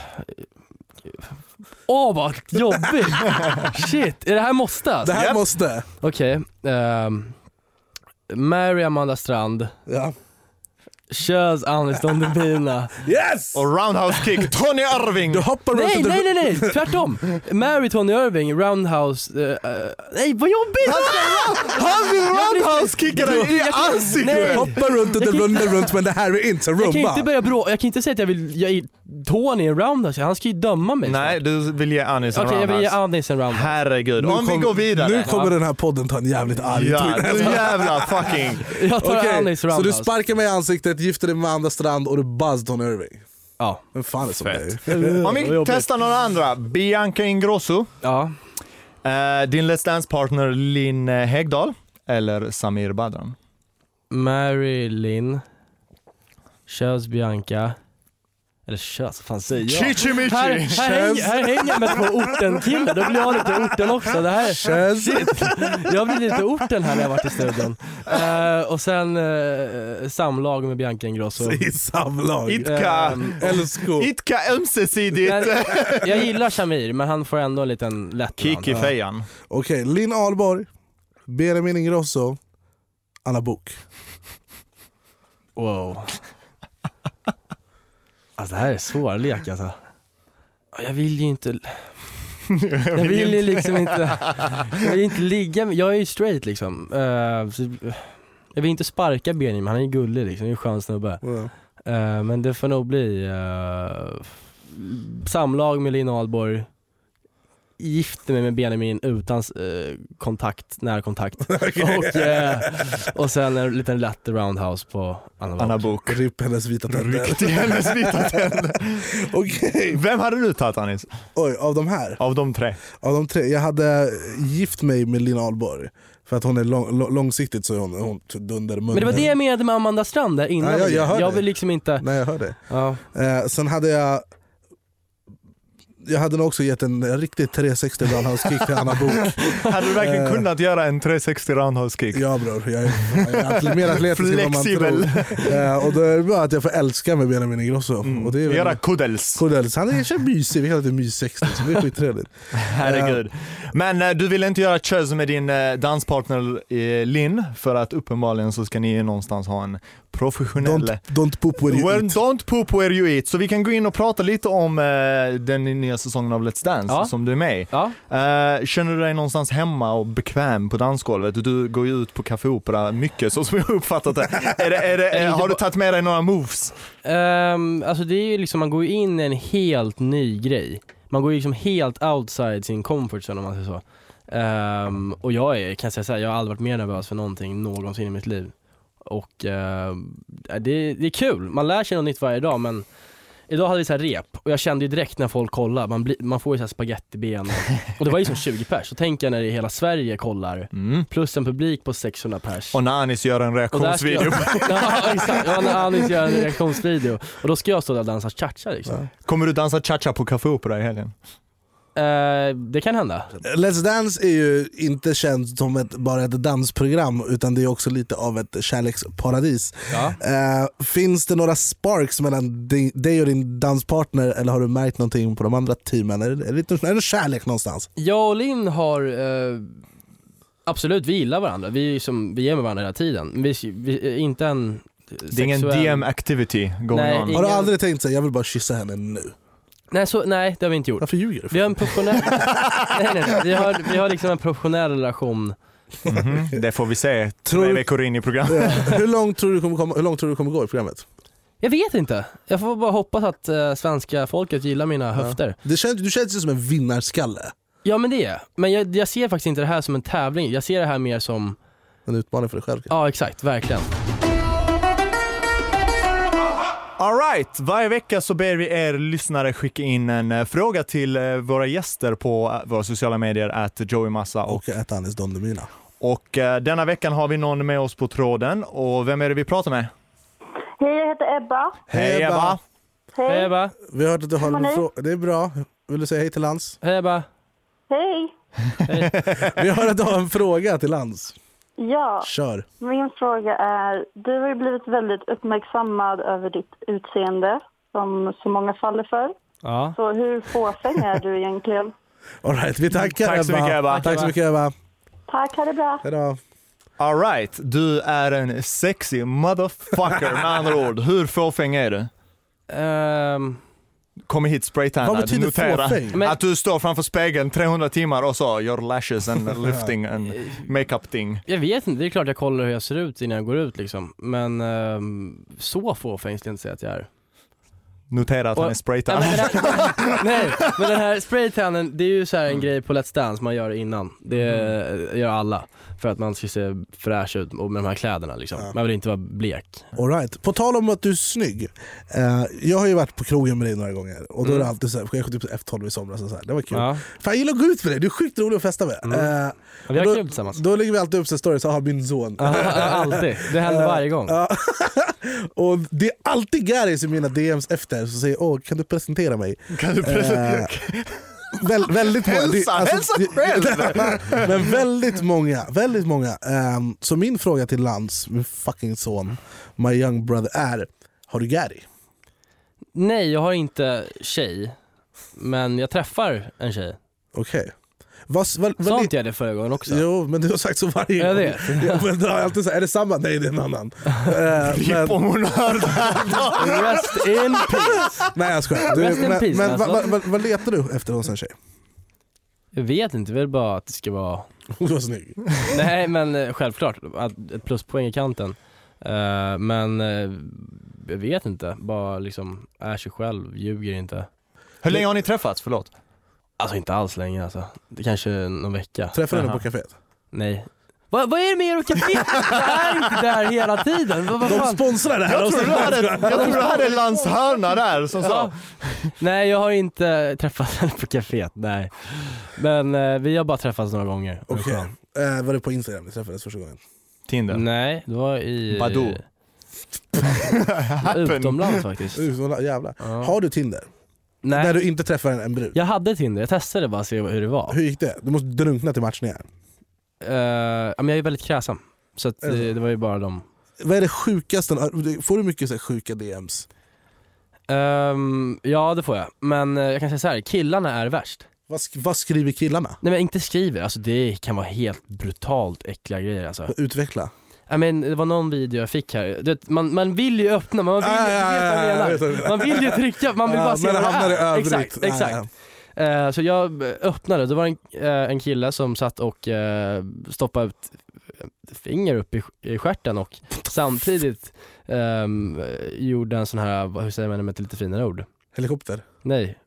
D: Åh vad jobbigt! Shit, är det här måste
E: Det
D: alltså?
E: här
F: Japp.
E: måste.
D: Okej, ehm, Mary Amanda Strand,
E: Ja.
D: körs Anis Don Demina.
E: Yes!
F: Och roundhouse kick, Tony Irving!
E: Du hoppar runt
D: Nej,
E: och du-
D: nej, nej, nej, tvärtom! Marry Tony Irving, Roundhouse... eh, eh, nej, vad jobbigt!
F: Han vill roundhouse kicka dig i
D: nej.
F: ansiktet!
E: Hoppar runt och
D: Jag
E: du
D: kan
E: rundar runt men det här är inte
D: Jag kan ju
E: rumba.
D: inte börja brå... Jag kan inte säga att jag vill... Jag, Tony är Roundhouse, han ska ju döma mig.
F: Nej, du vill ge Anis en
D: Okej, jag
E: alltså.
D: vill ge
F: roundhouse.
D: Anis en Roundhouse.
F: Herregud, om vi
E: kom-
F: går
E: Nu
F: vidare.
E: kommer den här podden ta en jävligt arg
F: Ja,
E: ton.
F: nu jävla fucking...
D: Jag tar
E: Okej,
D: Anis
E: så du
D: Roundhouse.
E: sparkar mig i ansiktet, gifter dig med Amanda Strand och du buzz Tony Irving.
D: Ja.
E: Vem fan är som dig?
F: Om
D: Vad
F: vi
D: jobbigt.
F: testar några andra. Bianca Ingrosso,
D: Ja.
F: eh, din Let's Dance-partner Linn Häggdahl eller Samir Badran?
D: Mary Lynn, körs Bianca. Eller körs, vad fan säger jag? Här,
F: Chichimichi!
D: här, hänger, här hänger jag med två orten-killar, då blir jag lite orten också. Det här,
E: Kös.
D: Jag blir lite orten här när jag varit i studion. Eh, och sen eh, samlag med Bianca Ingrosso. Ehm,
E: I samlag. Eh,
F: Itka!
E: LSK.
F: Itka ömsesidigt!
D: Men, jag gillar Shamir men han får ändå en liten lätt
F: Kick i fejan.
E: Okej, Linn Ahlborg, Benjamin Ingrosso, Anna Bok.
D: Wow. Alltså det här är svårlek alltså. Ja, Jag vill ju inte... Jag vill ju liksom inte... Jag vill inte ligga med... Jag är ju straight liksom. Eh, så, jag vill inte sparka Benjamin, han är ju gullig liksom. Han är ju en skön snubbe. Eh, men det får nog bli eh, samlag med Lina Ahlborg, gifte mig med Benjamin utan eh, kontakt, närkontakt. och, eh, och sen en liten lätt roundhouse på Anna Wahl.
F: Anna Bok.
E: Ripp hennes vita tänder.
F: Riktig hennes vita tänder.
E: Okej,
F: Vem hade du tagit Anis?
E: oj av de här.
F: Av de tre?
E: Av de tre, jag hade gift mig med Linn Ahlborg. För att hon är lång, lång, långsiktigt så är hon, hon dundermunnen.
D: Men det var det jag menade med Amanda Strand där innan.
E: Ja, jag- jag hör dig.
D: vill liksom inte...
E: Nej jag hör det.
D: Ja.
E: Eh, sen hade jag jag hade nog också gett en riktig 360 roundhouse-kick till Anna Bok.
F: Hade du verkligen
E: Eh.
F: kunnat göra en 360 roundhouse kick?
E: Ja bror, jag är, jag är atlet- mer atletisk än vad man tror.
F: Flexibel.
E: Eh, och då är det bara att jag får älska med Benjamin Ingrosso. Och det är väl
F: Mm. Göra kuddels.
E: Cordells. Han är kanske mysig, vi kallar det mys-60 så det är skittrevligt.
F: Herregud. Men eh, du ville inte göra kös med din eh, danspartner eh, Linn, för att uppenbarligen så ska ni någonstans ha en professionella.
E: Don't, don't poop where you
F: Well,
E: eat.
F: don't poop where you eat. Så vi kan gå in och prata lite om eh, den nya säsongen av Let's Dance
D: Ja.
F: som du är med i.
D: Ja.
F: Eh, känner du dig någonstans hemma och bekväm på dansgolvet? Du går ju ut på Café Opera mycket så som jag har uppfattat det. Är det, är det,
D: Är det
F: har
D: inte
F: du tagit med dig några moves?
D: Ehm, alltså det är ju liksom, man går ju in i en helt ny grej. Man går ju liksom helt outside sin comfort zone om man säger så. Ehm, och jag är, kan säga så här, jag har aldrig varit mer nervös för någonting någonsin i mitt liv. Och ehm, det, det är kul, man lär sig något nytt varje dag men Idag hade vi så här rep och jag kände ju direkt när folk kollar, man, blir- man får ju så här spagettiben och, och det var ju som 20 pers, så tänker jag när det är hela Sverige kollar,
F: Mm.
D: plus en publik på 600 pers
F: Och när Anis gör en
D: där ska
F: reaktionsvideo.
D: Jag, ja, exakt. Ja, när Anis gör en reaktionsvideo. Och då ska jag stå där och dansa cha-cha liksom.
F: Kommer du dansa cha-cha på Café Opera i helgen?
D: Eh, det kan hända.
E: Let's Dance är ju inte känt som ett, bara ett dansprogram utan det är också lite av ett kärleksparadis.
D: Ja.
E: Eh, finns det några sparks mellan di- dig och din danspartner eller har du märkt någonting på de andra teamen? Är det, är det, är det någon kärlek någonstans?
D: Jag och Linn har, eh, absolut vi gillar varandra. Vi är, ju som, vi är med varandra hela tiden. Men Vi, vi är inte en
F: Det är ingen DM activity going
D: Nej,
F: on.
D: i-
E: Har du
D: Ingen-
E: aldrig tänkt sig jag vill bara kyssa henne nu?
D: Nej, så, nej, det har vi inte gjort.
E: Varför ljuger du?
D: Vi har en professionell, nej, nej, nej. Vi, har, vi har liksom en professionell relation.
F: Mhm. Det får vi se
E: Tror-
F: tre veckor in i programmet.
E: Ja. hur, långt tror du kommer komma, hur långt tror du kommer gå i programmet?
D: Jag vet inte. Jag får bara hoppas att eh, svenska folket gillar mina höfter.
E: Det känns, du känns ju som en vinnarskalle.
D: Ja men det är jag. Men jag, jag ser faktiskt inte det här som en tävling. Jag ser det här mer som,
E: En utmaning för dig själv.
D: ja exakt, verkligen.
F: Alright, varje vecka så ber vi er lyssnare skicka in en eh, fråga till eh, våra gäster på eh, våra sociala medier, att Joey Massa. Och,
E: Och äta Anis Don Demina.
F: och eh, denna veckan har vi någon med oss på tråden. Och vem är det vi pratar med?
J: Hej, jag heter Ebba.
F: Hej Ebba!
D: Hej Ebba,
E: Vi har hört att du har
J: Hej,
E: en
J: hej.
E: fråga. Det är bra. Vill du säga hej till Lans?
D: hej Ebba.
J: Hej!
E: Vi har hört att du har en fråga till Lans.
J: Ja,
E: Kör.
J: min fråga är... Du har ju blivit väldigt uppmärksammad över ditt utseende som så många faller för.
D: Ja.
J: Så hur fåfäng är du egentligen?
E: All right, vi tackar
F: Tack så mycket, Ebba.
E: Tack så mycket Ebba.
J: Tack, ha det bra!
E: Hejdå.
F: Alright, du är en sexy motherfucker med andra ord. Hur fåfäng är du?
D: Ehm,
F: Kommer hit spraytannad.
E: Vad betyder
F: Notera
E: fåfäng?
D: Men-
F: Att du står framför spegeln 300 timmar och så your lashes and lifting and makeup thing.
D: jag vet inte, det är klart jag kollar hur jag ser ut innan jag går ut liksom. Men ehm, så fåfäng skulle jag inte säga att jag är.
F: Notera att
D: Och-
F: han är
D: Nej
F: spraytannad.
D: men, den här, nej, men den här spraytannen, det är ju så här en grej på Let's Dance man gör innan. Det gör alla. För att man ska se fräsch ut och med de här kläderna liksom. Man vill inte vara blek.
E: All right. På tal om att du är snygg. Eh, jag har ju varit på krogen med dig några gånger och då
F: Mm.
E: är det alltid såhär, kanske typ F12 i somras, och så här. det var kul.
D: Ja.
E: Fan jag gillar att gå ut med dig, du är sjukt rolig att festa med.
F: Mm.
E: Eh,
D: Vi har
E: då,
D: kul tillsammans.
E: Då lägger vi alltid upp så här stories, har min son.
D: Alltid, det händer varje gång.
E: Ja. och det är alltid Garys i mina DMs efter som säger åh kan du presentera mig? Eh,
F: Kan du presentera?
E: Väl, väldigt många.
F: Hälsa-
E: Det- alltså,
F: hälsa
E: det-
F: själv!
E: men väldigt många. Väldigt många. Ehm, så min fråga till Lans, min fucking son, my young brother är, har du Gary?
D: Nej, jag har inte tjej. Men jag träffar en tjej.
E: Okej. Vad, vad, vad,
D: Sa inte jag det förra gången också?
E: Jo, men du har sagt så varje
D: Ja,
E: gång.
D: det
E: Ja, men du har alltid sagt, är det samma? Nej, det är en annan. Eh, men,
F: Om hon hör det här då.
D: Rest in peace.
E: nej, jag skojar. Du,
D: Rest in
E: men
D: peace,
E: men
D: alltså.
E: vad, vad, vad, vad letar du efter hos en tjej?
D: Jag vet inte, väl bara att det ska vara...
E: Du var snygg.
D: Nej men eh, självklart, att- ett pluspoäng i kanten. Eh, men eh, jag vet inte, bara liksom är sig själv, ljuger inte.
F: Hur länge har ni träffats? Förlåt.
D: Alltså inte alls länge alltså. Det kanske är någon vecka.
E: Träffade henne
F: Jaha.
E: på kaféet.
D: Nej. Va, vad är det med er och kaféet? Jag är inte där hela tiden. Va, vad
E: De
D: fan?
E: sponsrar det här.
F: Jag
E: Och
F: tror
E: så-
F: du hade, jag tror du hade Lans hörna där som sa.
D: Ja. Nej jag har inte träffat henne på kaféet, nej. Men eh, vi har bara träffats några gånger.
E: Okej. Eh, var det på Instagram vi träffades första gången?
F: Tinder.
D: Nej, det var i... eh,
F: Badoo.
D: Utomlands faktiskt.
E: Uh, så jävlar.
D: Ja.
E: Har du Tinder? Där
D: Nej,
E: du inte träffar en, en brud?
D: jag hade Tinder, jag testade bara se hur det var.
E: Hur gick det? Du måste drunkna till matchningar.
D: Eh, ja, men jag är väldigt kräsen. Så att, eh,
E: Är det
D: det, det var ju bara dem.
E: Vad är det sjukaste? Får du mycket så här sjuka DMs?
D: Ehm, ja det får jag, men eh, jag kan säga så här, killarna är värst.
E: Vad, sk- vad skriver killarna?
D: Nej men inte skriver, alltså det kan vara helt brutalt äckliga grejer alltså.
E: Utveckla.
D: Ja, men det var någon video jag fick här, du vet, man, man vill ju öppna, man vill ju, du vet vad jag menar. Man vill ju trycka, man vill bara se
E: Ah, men
D: vad det
E: hamnar i
D: är.
E: övrigt. Ah,
D: Exakt,
E: Ja,
D: exakt.
E: ja.
D: Eh, Så jag öppnade, det var en, eh, en kille som satt och eh, stoppade ut ett finger upp i, i stjärten och samtidigt ehm, gjorde en sån här, vad- hur säger man det med ett lite finare ord?
E: Helikopter?
D: Nej.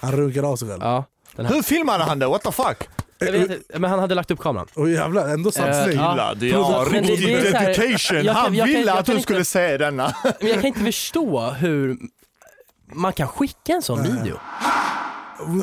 E: Han runkade av sig själv?
D: Ja.
F: Hur filmade han det? What the fuck?
D: Jag vet, inte, men han hade lagt upp kameran.
E: Åh jävlar, ändå
D: Eh, ja.
F: Gilla, det ja,
D: Men det-
F: riktig
D: det är så här-
F: dedication.
D: jag kan-
F: Han
D: jag kan-
F: ville
D: jag
F: att du
D: kan inte-
F: skulle se denna.
D: Men jag kan inte förstå hur man kan skicka en sån video.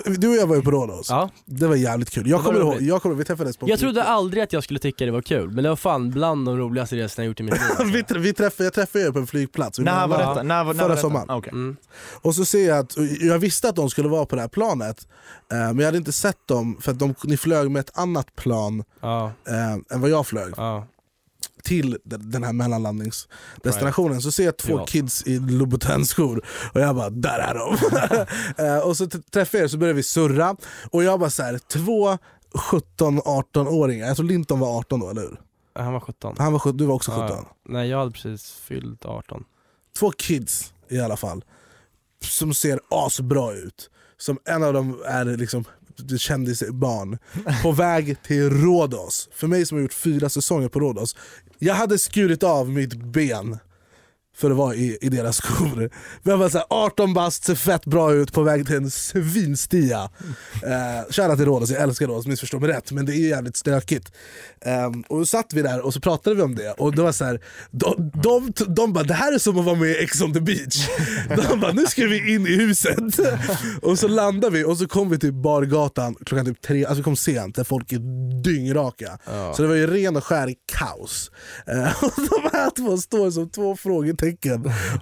E: Du och jag var ju på Rhodos.
D: Ja.
E: Det var jävligt kul. Jag
D: Det
E: kommer
D: var
E: ihåg,
D: roligt.
E: jag kommer, vi träffades på
D: Jag trodde aldrig att jag skulle tycka det var kul, men det var fan bland de roligaste resorna jag gjort i mitt liv.
E: vi, tr- vi träffade, jag träffade er på en flygplats. Vi
F: När var
E: var-
F: detta? När, var- när var
E: Förra
F: detta?
E: sommaren.
F: Ah, okej.
D: Mm.
E: Och så ser jag att, jag visste att de skulle vara på det här planet, eh, men jag hade inte sett dem för att de, ni flög med ett annat plan
D: Ja,
E: eh, än vad jag flög
D: ja.
E: till d- den här mellanlandningsdestinationen. Så ser jag två
D: Privat.
E: kids i Louboutin-skor och jag bara “där är de”. Eh, och så t- träffar jag er så börjar vi surra och jag bara så här, två 17-18-åringar, jag tror Linton var 18 då, eller hur?
D: Han var 17.
E: Han var, sjut- du var också 17?
D: Ja, nej, jag hade precis fyllt 18.
E: två kids i alla fall som ser asbra ut. Som en av dem är liksom kändisbarn på väg till Rhodos. För mig som har gjort fyra säsonger på Rhodos. Jag hade skurit av mitt ben för att vara i, i deras skor. Men jag var så här, 18 bast, ser fett bra ut, på väg till en svinstia. Eh, Kära till Rhodos, jag älskar Rhodos, missförstå mig rätt, men det är ju jävligt stökigt. Eh, och då satt vi där och så pratade vi om det, och det var så här, de, de, de, bara, det här är som att vara med i Ex on the beach. De bara, nu ska vi in i huset. och så landade vi och så kom vi till bargatan klockan typ tre, alltså vi kom sent, där folk är dyngraka. Så det var ju ren och skär kaos. Eh, och de här två står som två frågetecken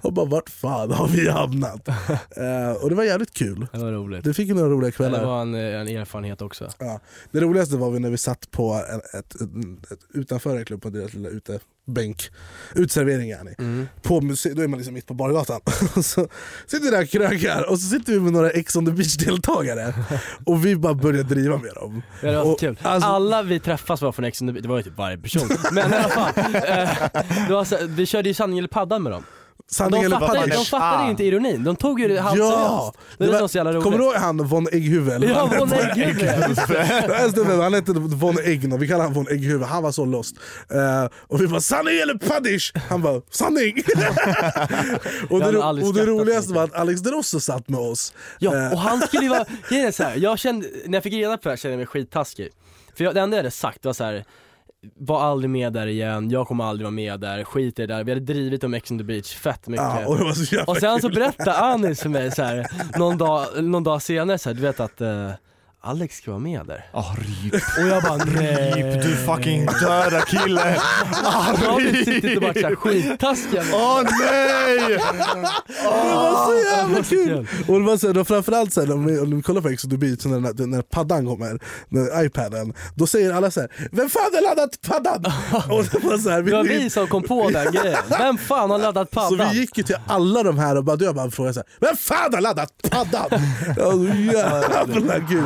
E: och bara, vart fan har vi hamnat? Eh, och det var jävligt kul.
D: Det var roligt.
E: Du fick ju några roliga
D: Det
E: kvällar.
D: var en, eh, en erfarenhet också.
E: Ja. Det roligaste var vi när vi satt på en, ett, ett, ett, utanför en klubb på deras lilla utebänk, utservering är ni.
D: Mm.
E: På muse- då är man liksom mitt på bargatan. Och så sitter vi där och krökar och så sitter vi med några Ex on the beach-deltagare och vi bara börjar driva med dem.
D: Ja, Det var
E: Och,
D: kul.
E: alltså-
D: Alla vi träffas var från Ex on the Beach, det var ju typ varje person. Men i alla fall, eh, det var så, vi körde ju sanning eller padda med dem.
E: Sanning
D: de
E: eller
D: fattade,
E: papper?
D: de fattade ju inte ironin, de tog ju det halvseriöst.
E: Ja!
D: Det var
E: Det
D: så så jävla
E: var,
D: roligt.
E: kommer du ihåg han von Ägghuvud? eller vad
D: Ja,
E: han
D: von
E: hette?
D: Ägghuvud.
E: Jag älskar det, Han hette von Egg, vi kallar honom von Egghuvud, han var så lost. Eh, och vi bara “sanning eller paddish?” Han bara “sanning”.
D: Jag
E: och det,
D: hade
E: ro-
D: aldrig
E: och det
D: skrattat så
E: roligaste
D: mycket.
E: var att Alex Derosso satt med oss. Eh,
D: Ja, och han skulle ju vara, grejen är så här, jag kände, när jag fick reda på det här kände jag mig skittaskig. För jag, det enda jag hade sagt var så här. var aldrig med där igen, jag kommer aldrig vara med där, skit i det där. Vi hade drivit om Ex on the beach fett mycket.
E: Ja, och det var så jävla
D: Och sen så
E: kul.
D: berättade Anis för mig så här, någon, dag, någon dag senare så här, du vet att eh, Alex ska vara med där.
F: Ah, rip.
D: Och jag bara
F: Rip,
D: nej.
F: du fucking döda kille. Ah,
D: Och då har vi suttit och varit
F: rip.
D: såhär skittaskiga.
F: Åh nej!
E: Det var så jävla
D: var så
E: kul! Och det var så här, då framförallt så här, om, vi, om vi kollar på Ex on the beach, när, den här- när paddan kommer, när iPaden, då säger alla så här “Vem fan har laddat paddan?” och det var så här,
D: Det var vi som kom på den grejen. Vem fan har laddat
E: Så
D: paddan?
E: vi gick ju till alla de här och bara, jag bara frågade såhär, vem fan har laddat paddan? Ja, så jävla kul.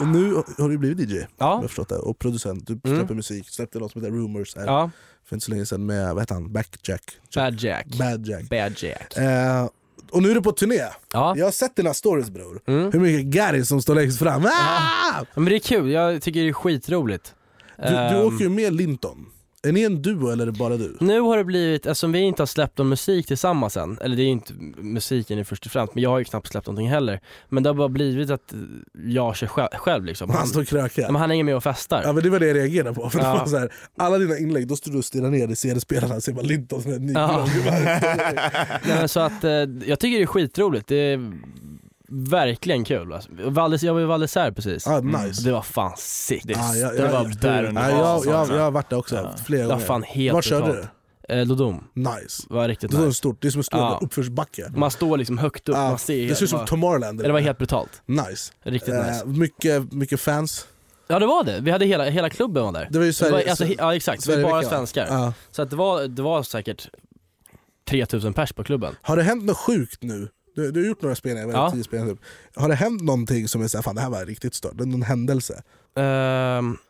E: Och nu har du blivit DJ, om jag har förstått det, och producent, du släpper musik, släppte låt som heter Rumors här,
D: Mm. Ja,
E: för inte så länge sedan med, vad heter han, Backjack?
D: Bad Jack.
E: Bad Jack.
D: Bad Jack.
E: Eh, och nu är du på turné.
D: Ja. Mm.
E: Jag har sett dina stories bror. Hur mycket Gary som står längst fram. Ah!
D: Men det är kul, jag tycker det är skitroligt.
E: Du, du
D: Ehm, Mm.
E: åker ju med Linton. Är ni en duo eller är det bara du?
D: Nu har det blivit, eftersom vi inte har släppt någon musik tillsammans än, eller det är ju inte musiken i först och främst, men jag har ju knappt släppt någonting heller. Men det har bara blivit att eh, jag kör själv, själv liksom.
E: Han står och krökar.
D: men han hänger med och festar.
E: Ja, men det var det jag reagerade på. För det
D: Ja.
E: var så här, alla dina inlägg, då stod du och stirrade ner i CD-spelarna och ser bara Linton som en ny
D: Ja.
E: blogg.
D: Nej, men så att eh, jag tycker det är skitroligt, det är verkligen kul. Alltså. Valdes, jag var i Valles här precis.
E: Ah, nice.
D: Och Det var fan sick. Det,
E: Ah, jag-
D: det
E: jag-
D: var
E: jag-
D: där
E: Ja,
D: under alltså.
E: jag,
D: Vasan,
E: jag,
D: så.
E: jag har varit där också flera
D: Det
E: gånger.
D: var fan helt
E: Vart körde
D: brutalt. Eh, Lodom,
E: du? Nice.
D: var riktigt
E: Det var
D: nice.
E: stort, det är som en stor
D: Ja.
E: uppförsbacke.
D: Man står liksom högt upp,
E: Ja,
D: man ser
E: Ah, det ser ut
D: bara-
E: som Tomorrowland.
D: Det var helt brutalt,
E: Nice.
D: riktigt
E: Eh,
D: nice.
E: mycket, mycket fans.
D: Ja det var det, vi hade hela, hela klubben var där.
E: Det var ju Ah. Sverige-
D: alltså, he- ja exakt, det var bara
E: Sverigeveckan.
D: svenskar.
E: Ja.
D: Så att det, var, det var säkert 3000 pers på klubben.
E: Har det hänt något sjukt nu? Du, du har gjort några spelningar, väl?
D: Ja.
E: tio spelningar typ. Har det hänt någonting som är såhär, fan det här var riktigt stört, någon händelse?
D: Ehm,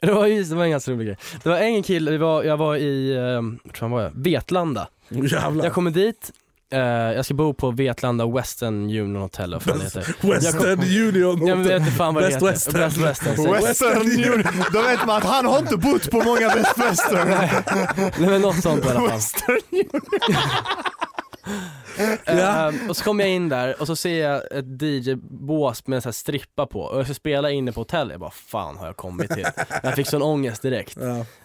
D: Det var, just, det var en ganska rolig grej. Det var en kille, det var, jag var i, eh, vart fan var jag? Vetlanda.
E: Jävlar.
D: Jag kommer dit, eh, jag ska bo på Vetlanda Western Union Hotel, vad fan det heter.
E: Western Union.
D: Ja, men jag vet inte fan vad det
E: Best
D: heter.
E: Western.
D: Best Western. säger jag.
E: Western Union.
F: Då vet man att han har inte bott på många Best Western.
D: Nej men något sånt i alla fall.
F: Western
D: Ehm, och så kommer jag in där och så ser jag ett DJ-bås med en sån här strippa på och jag ska spela inne på hotellet. Jag bara, fan har jag kommit till? Jag fick sån ångest direkt.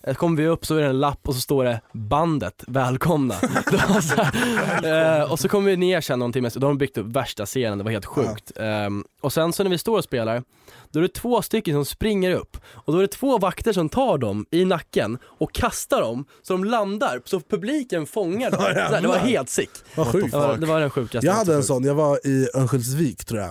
D: Så kommer vi upp så är det en lapp och så står det bandet, välkomna. Det var så här, eh, och så kommer vi ner sen någon timme och de har byggt upp värsta scenen, det var helt sjukt. Ehm, och sen så när vi står och spelar, då är det två stycken som springer upp och då är det två vakter som tar dem i nacken och kastar dem så de landar så publiken fångar dem. Så här, det var helt sick.
E: Vad sjukt.
D: Det var, det var den sjukaste.
E: Jag hade en sån, jag var i Örnsköldsvik tror jag.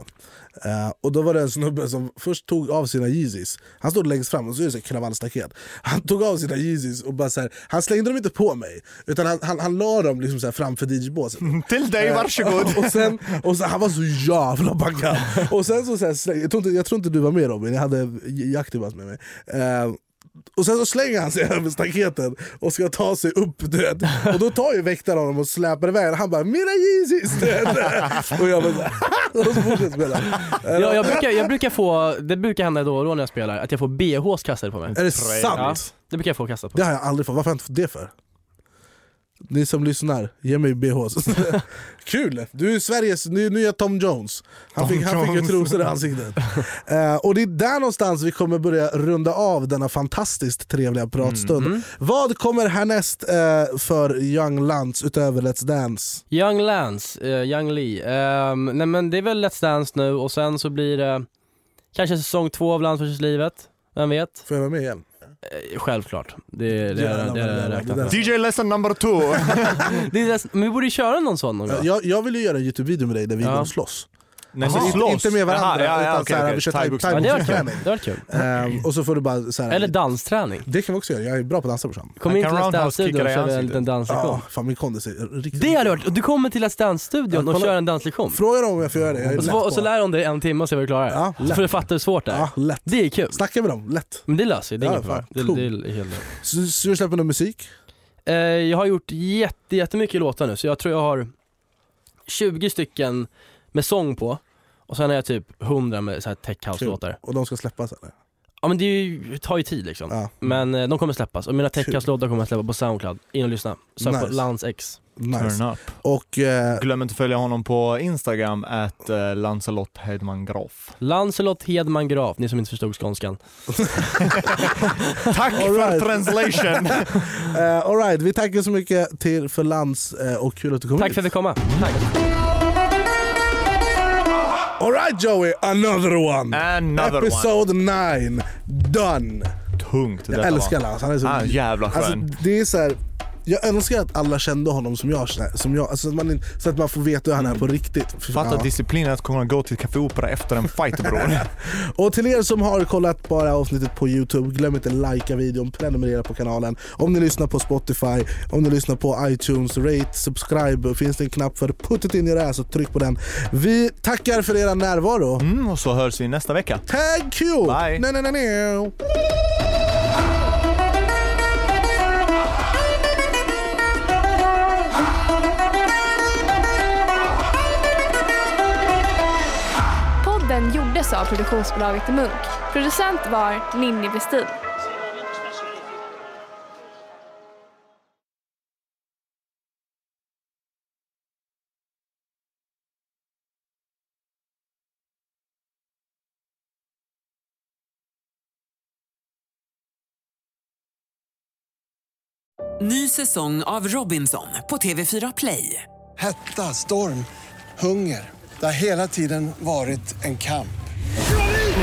E: Eh, och då var det en snubbe som först tog av sina Yeezys. Han stod längst fram och så är det så här kravallstaket. Han tog av sina Yeezys och bara så här, han slängde dem inte på mig. Utan han, han, han la dem liksom så här framför DJ-båset.
F: Till dig,
E: Eh,
F: varsågod.
E: och sen, och sen, han var så jävla packad. Och sen så, så här, släng, jag, tror inte, jag tror inte du var med Robin, jag hade jaktibas med mig. Eh, och sen så slänger han sig över staketet och ska ta sig upp. Du vet. Och då tar ju väktaren honom och släpar iväg Han bara “Mira Jesus!” du vet. Och jag bara så här, och så fortsätter spela. Eh,
D: Jag, jag, brukar, jag brukar få, det brukar hända då och då när jag spelar, att jag får BHs kastade på mig.
E: Är det sant?
D: Ja, det brikar jag få kastat på
E: Det
D: mig.
E: har jag aldrig fått, varför har jag inte fått det för? Ni som lyssnar, ge mig BHs. Kul! Du är Sveriges ny, nya Tom Jones. Han
F: Tom
E: fick, han fick ju
F: Jones.
E: trosor i ansiktet. Eh, och det är där någonstans vi kommer börja runda av denna fantastiskt trevliga pratstund.
D: Mm.
E: Vad kommer härnäst eh, för Young Lantz utöver Let's Dance?
D: Young Lance, eh, Young Lee. Ehm, nej men det är väl Let's Dance nu och sen så blir det kanske säsong två av Landsförsvarslivet. Vem vet?
E: Får jag vara med igen?
D: Eh, självklart. Det, det, det, det,
E: Jävlar, vad
D: det,
E: det
D: det
E: där
D: räknat
E: var.
D: med.
F: DJ lesson number two.
D: Det är dess- Men vi borde ju köra någon sån någon gång.
E: Eh, Jag, jag vill ju göra en Youtube-video med dig där vi
D: Ja.
E: går och slåss.
F: Nej,
E: Alltså, inte- inte med varandra,
F: Jaha, ja, ja,
E: utan
F: okej,
E: så här,
F: okej.
E: vi kör
F: Thai-boxning.
D: Ja, det
E: thai-
D: var kul.
E: träning.
D: Det var kul.
E: Eh, och så får du bara... Så här,
D: Eller dansträning.
E: det kan vi också göra, jag är bra på att dansa brorsan.
D: Kommer
F: Jag
D: in
F: kan
D: till Let's
F: roundhouse
D: Dance-studion
F: kicka dig i
D: och kör vi en,
F: ansiktet.
D: en danslektion.
E: Ja, fan min kondis är riktigt
D: Det hade varit Du kommer till Let's Dance-studion
E: Ja,
D: och
E: kolla.
D: kör en danslektion.
E: Fråga dem om jag får göra det. Jag är
D: Och
E: lätt
D: så, och så
E: på.
D: lär hon dig en timme och se vad du klarar.
E: Ja,
D: så får du fatta hur svårt det är.
E: Ja, lätt.
D: Det är kul.
E: Snacka med dem, lätt.
D: Men det löser sig, det är
E: Ja,
D: inget
E: fan,
D: problem. Det,
E: cool.
D: det är helt lugnt.
E: Så, så du släpper någon musik?
D: eh, Jag har gjort jätte, jättemycket låtar nu, så jag tror jag har 20 stycken med sång på. Och sen har jag typ 100 med så här tech house-låtar.
E: Och de ska släppas eller?
D: Ja men det är ju, tar ju tid liksom.
E: Ja.
D: Men eh, de kommer släppas och mina tech
E: Kul.
D: house-låtar kommer jag släppa på Soundcloud. In och lyssna. Sök på
E: Nice.
D: Lance X.
E: Nice.
F: Turn up.
E: Och eh,
F: Glöm inte att följa honom på Instagram, at eh, Lancelot Hedman Graf.
D: Lancelot Hedman Graf, ni som inte förstod skånskan.
F: Tack
E: All
F: för
E: right.
F: translation!
E: eh, all right, vi tackar så mycket till för Lans eh, och kul att du kom
D: Tack
E: hit.
D: för att vi kom. Tack.
E: All right Joey, another one!
F: Another one.
E: Episode 9, done!
F: Tungt detta
E: Jag älskar
F: var.
E: Lans, han är så
F: Han är jävla skön.
E: Alltså, det är så här, jag önskar att alla kände honom som jag, känner- som jag alltså, att man, in- så att man får veta hur han är på riktigt. Fy fan.
F: Fatta disciplinen att kunna gå till Café Opera efter en fight bror.
E: Och till er som har kollat bara avsnittet på Youtube, glöm inte likea videon, prenumerera på kanalen. Om ni lyssnar på Spotify, om ni lyssnar på iTunes, rate, subscribe. Finns det en knapp för put it in your ass så tryck på den. Vi tackar för er närvaro.
F: Mm, och så hörs vi nästa vecka.
E: Thank you!
F: Bye.
E: Nej, nej, nej, nej.
G: Podden gjordes av produktionsbolaget Munk. Producent var Ninni Westin.
A: Ny säsong av Robinson på TV4 Play.
B: Hetta, storm, hunger. Det har hela tiden varit en kamp.
A: Nu